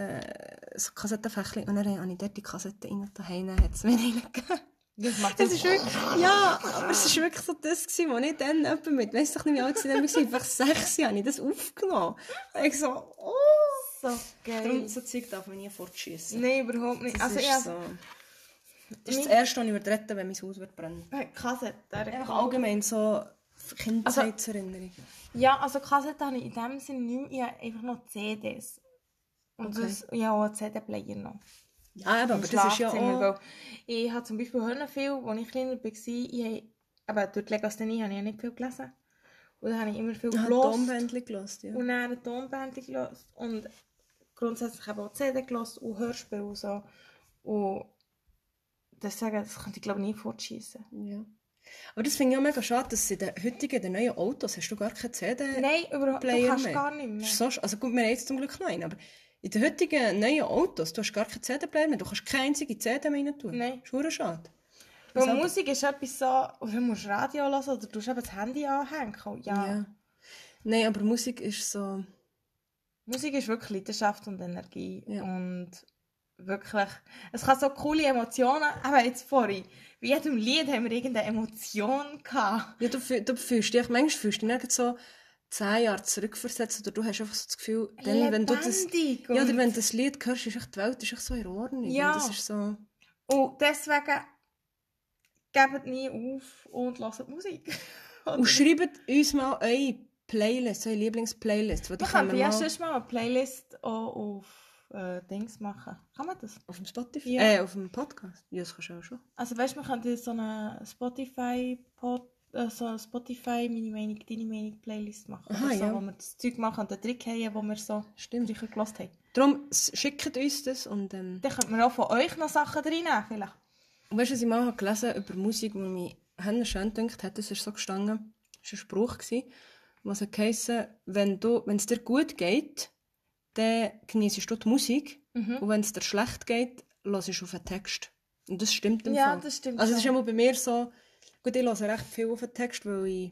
[SPEAKER 2] äh, so Kassettenfächchen. Und dann habe ich dort die Kassette rein, daheim hat es mir reingegeben.
[SPEAKER 3] Das macht
[SPEAKER 2] Es ist wirklich, ja, aber es war wirklich so das, gewesen, was ich dann etwa mit, weiss doch nicht, wie alt ich dann war, einfach sechs Jahre, habe ich das aufgenommen. Und ich so, oh.
[SPEAKER 3] so
[SPEAKER 2] Darum,
[SPEAKER 3] geil.
[SPEAKER 2] so Zeug darf man nie fortschiessen.
[SPEAKER 3] Nein, überhaupt nicht.
[SPEAKER 2] Das
[SPEAKER 3] also
[SPEAKER 2] ist
[SPEAKER 3] ja,
[SPEAKER 2] so. Das ist das
[SPEAKER 3] Mein-
[SPEAKER 2] Erste, was ich würde retten wenn mein Haus würde brennen
[SPEAKER 3] Kassette. der-
[SPEAKER 2] Einfach allgemein so Kindheitserinnerung.
[SPEAKER 3] Ja, also Kassette habe ich in dem Sinne nicht mehr. Ich habe einfach noch CDs. Und
[SPEAKER 2] Okay.
[SPEAKER 3] das, ja, auch einen CD-Player noch.
[SPEAKER 2] ja, eben, aber das ist ja
[SPEAKER 3] Also, Schlafzimmer,
[SPEAKER 2] auch...
[SPEAKER 3] weil Ich habe zum Beispiel Hörnerfilm, als ich kleiner war, ich habe, aber durch die Legasthenie habe ich ja nicht viel gelesen. Und dann habe ich immer viel
[SPEAKER 2] Ich habe
[SPEAKER 3] gelesen
[SPEAKER 2] Tonbändchen gehört, Ah, ja.
[SPEAKER 3] und dann eine Tonbänder gelesen und grundsätzlich eben auch CD gelesen und Hörspiele und so. Und das sagen, das könnte ich glaube ich nie fortschießen.
[SPEAKER 2] ja. Aber das finde ich auch mega schade, dass in den heutigen, in den neuen Autos hast du gar keine CD.
[SPEAKER 3] Nein, überhaupt, du
[SPEAKER 2] Player
[SPEAKER 3] kannst
[SPEAKER 2] mehr.
[SPEAKER 3] gar nicht mehr.
[SPEAKER 2] Das ist so sch- also gut, wir haben jetzt zum Glück noch einen, aber in den heutigen neuen Autos, du hast gar keinen CD-Player mehr, du kannst keine einzige CD mehr rein tun.
[SPEAKER 3] Nein.
[SPEAKER 2] Das ist verdammt schade.
[SPEAKER 3] Weil
[SPEAKER 2] Selber-
[SPEAKER 3] Musik ist etwas so, oder du musst Radio hören oder du musst eben das Handy anhängen. Oh, Ja.
[SPEAKER 2] Nein, aber Musik ist so...
[SPEAKER 3] Musik ist wirklich Leidenschaft und Energie.
[SPEAKER 2] Ja.
[SPEAKER 3] Und wirklich, es kann so coole Emotionen, aber jetzt vorhin, bei jedem Lied haben wir irgendeine Emotion gehabt.
[SPEAKER 2] Ja, du, fühl- du fühlst dich, manchmal fühlst du dich nicht so zehn Jahre zurückversetzt oder du hast einfach so das Gefühl, dann, wenn du das...
[SPEAKER 3] Lebendig
[SPEAKER 2] Ja, oder
[SPEAKER 3] und-
[SPEAKER 2] wenn du das Lied hörst, ist echt die Welt ist echt so in Ordnung.
[SPEAKER 3] Ja.
[SPEAKER 2] Und das ist so...
[SPEAKER 3] Und Oh, deswegen, gebt nie auf und lasst Musik.
[SPEAKER 2] Und schreibt uns mal eure Playlist, eure Lieblingsplaylist. weil die
[SPEAKER 3] Wir
[SPEAKER 2] können
[SPEAKER 3] könnten
[SPEAKER 2] wir
[SPEAKER 3] ja
[SPEAKER 2] mal
[SPEAKER 3] sonst mal eine Playlist auch auf äh, Dings machen. Kann man das?
[SPEAKER 2] auf dem Spotify,
[SPEAKER 3] Ja.
[SPEAKER 2] äh, auf dem Podcast. Ja, das kannst du auch schon.
[SPEAKER 3] Also weißt du, man könnte so eine Spotify-Pod, äh, so eine Spotify meine Meinung, deine Meinung Playlist machen.
[SPEAKER 2] Aha,
[SPEAKER 3] oder so,
[SPEAKER 2] ja.
[SPEAKER 3] wo wir das Zeug machen und den Trick haben, wo wir so
[SPEAKER 2] Stimmt.
[SPEAKER 3] früher gelost haben.
[SPEAKER 2] Darum s- schickt uns das und ähm,
[SPEAKER 3] Dann könnten wir auch von euch noch Sachen reinnehmen, vielleicht.
[SPEAKER 2] und weißt du, was ich mal habe gelesen über Musik, wo mich Hände schön gedacht hat, das ist so gestanden, das war ein Spruch, gewesen, was hat geheissen, wenn du, wenn es dir gut geht, dann genießt du die Musik
[SPEAKER 3] Mhm.
[SPEAKER 2] und wenn es dir schlecht geht, hörst du auf den Text. Und das stimmt im
[SPEAKER 3] Ja,
[SPEAKER 2] Fall.
[SPEAKER 3] das stimmt
[SPEAKER 2] Also es ist
[SPEAKER 3] schon.
[SPEAKER 2] immer bei mir so, gut, ich höre recht viel auf den Text, weil ich,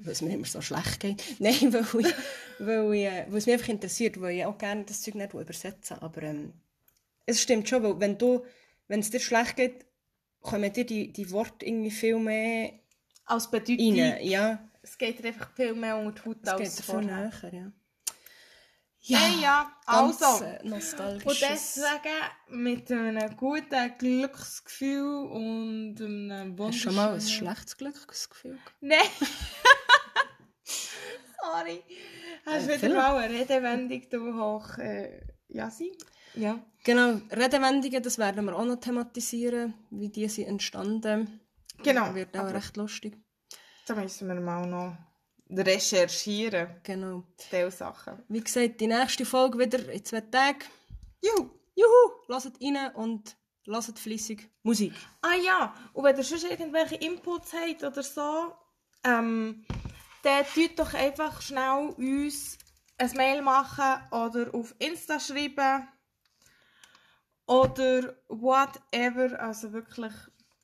[SPEAKER 2] weil es mir immer so schlecht geht. Nein, weil, ich, weil, ich, äh, weil es mich einfach interessiert, weil ich auch gerne das Zeug nicht übersetze. Aber ähm, es stimmt schon, weil wenn du, wenn es dir schlecht geht, kommen dir die, die Worte irgendwie viel mehr
[SPEAKER 3] Als Bedeutung.
[SPEAKER 2] rein. Ja,
[SPEAKER 3] Es geht dir einfach viel mehr unter die Haut
[SPEAKER 2] es geht
[SPEAKER 3] als
[SPEAKER 2] dir viel
[SPEAKER 3] vorher.
[SPEAKER 2] näher, ja.
[SPEAKER 3] Ja, hey, ja,
[SPEAKER 2] ganz
[SPEAKER 3] also.
[SPEAKER 2] äh,
[SPEAKER 3] Und
[SPEAKER 2] nostalgisches.
[SPEAKER 3] deswegen mit einem guten Glücksgefühl und einem wunderschönen...
[SPEAKER 2] Hast du schon mal ein schlechtes Glücksgefühl gehabt?
[SPEAKER 3] Nein! Sorry! Hast
[SPEAKER 2] Äh,
[SPEAKER 3] wieder
[SPEAKER 2] Philipp?
[SPEAKER 3] mal eine Redewendung du hoch. Äh, ja, sie? Ja.
[SPEAKER 2] Genau, Redewendungen, das werden wir auch noch thematisieren, wie die sind entstanden.
[SPEAKER 3] Genau.
[SPEAKER 2] Wird auch
[SPEAKER 3] Aber-
[SPEAKER 2] recht lustig.
[SPEAKER 3] Da müssen wir mal noch recherchieren,
[SPEAKER 2] Genau.
[SPEAKER 3] diese Sachen.
[SPEAKER 2] Wie gesagt, die nächste Folge wieder in zwei Tagen.
[SPEAKER 3] Juhu!
[SPEAKER 2] Juhu! Lasst rein und lasst flüssig Musik.
[SPEAKER 3] Ah ja, und wenn ihr sonst irgendwelche Inputs habt oder so, ähm, dann tut doch einfach schnell uns ein Mail machen oder auf Insta schreiben oder whatever. Also wirklich,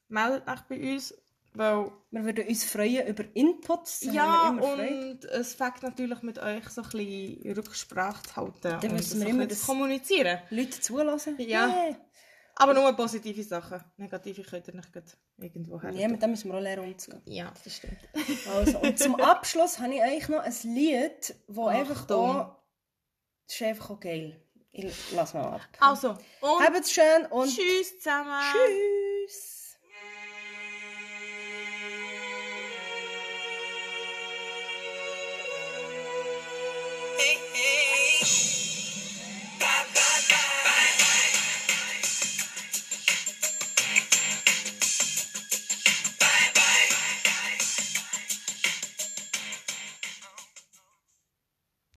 [SPEAKER 3] meldet euch bei uns, weil
[SPEAKER 2] Wir würden uns freuen über Inputs. das
[SPEAKER 3] ja,
[SPEAKER 2] haben wir immer Freude.
[SPEAKER 3] und es fängt natürlich mit euch so ein bisschen Rücksprache zu halten
[SPEAKER 2] müssen
[SPEAKER 3] und
[SPEAKER 2] wir
[SPEAKER 3] so ein
[SPEAKER 2] immer
[SPEAKER 3] bisschen
[SPEAKER 2] das-
[SPEAKER 3] zu kommunizieren.
[SPEAKER 2] Leute zulassen.
[SPEAKER 3] Ja. Aber nur positive Sachen. Negative könnt ihr nicht gleich irgendwo
[SPEAKER 2] Yeah.
[SPEAKER 3] her.
[SPEAKER 2] Ja, mit dem müssen wir auch lernen umzugehen.
[SPEAKER 3] ja, das stimmt.
[SPEAKER 2] Also, und zum Abschluss habe ich eigentlich noch ein Lied, das einfach
[SPEAKER 3] Achtung.
[SPEAKER 2] auch... Das ist einfach auch geil. Ich lasse mal ab.
[SPEAKER 3] Also, und
[SPEAKER 2] Habt's schön und
[SPEAKER 3] tschüss zusammen.
[SPEAKER 2] tschüss.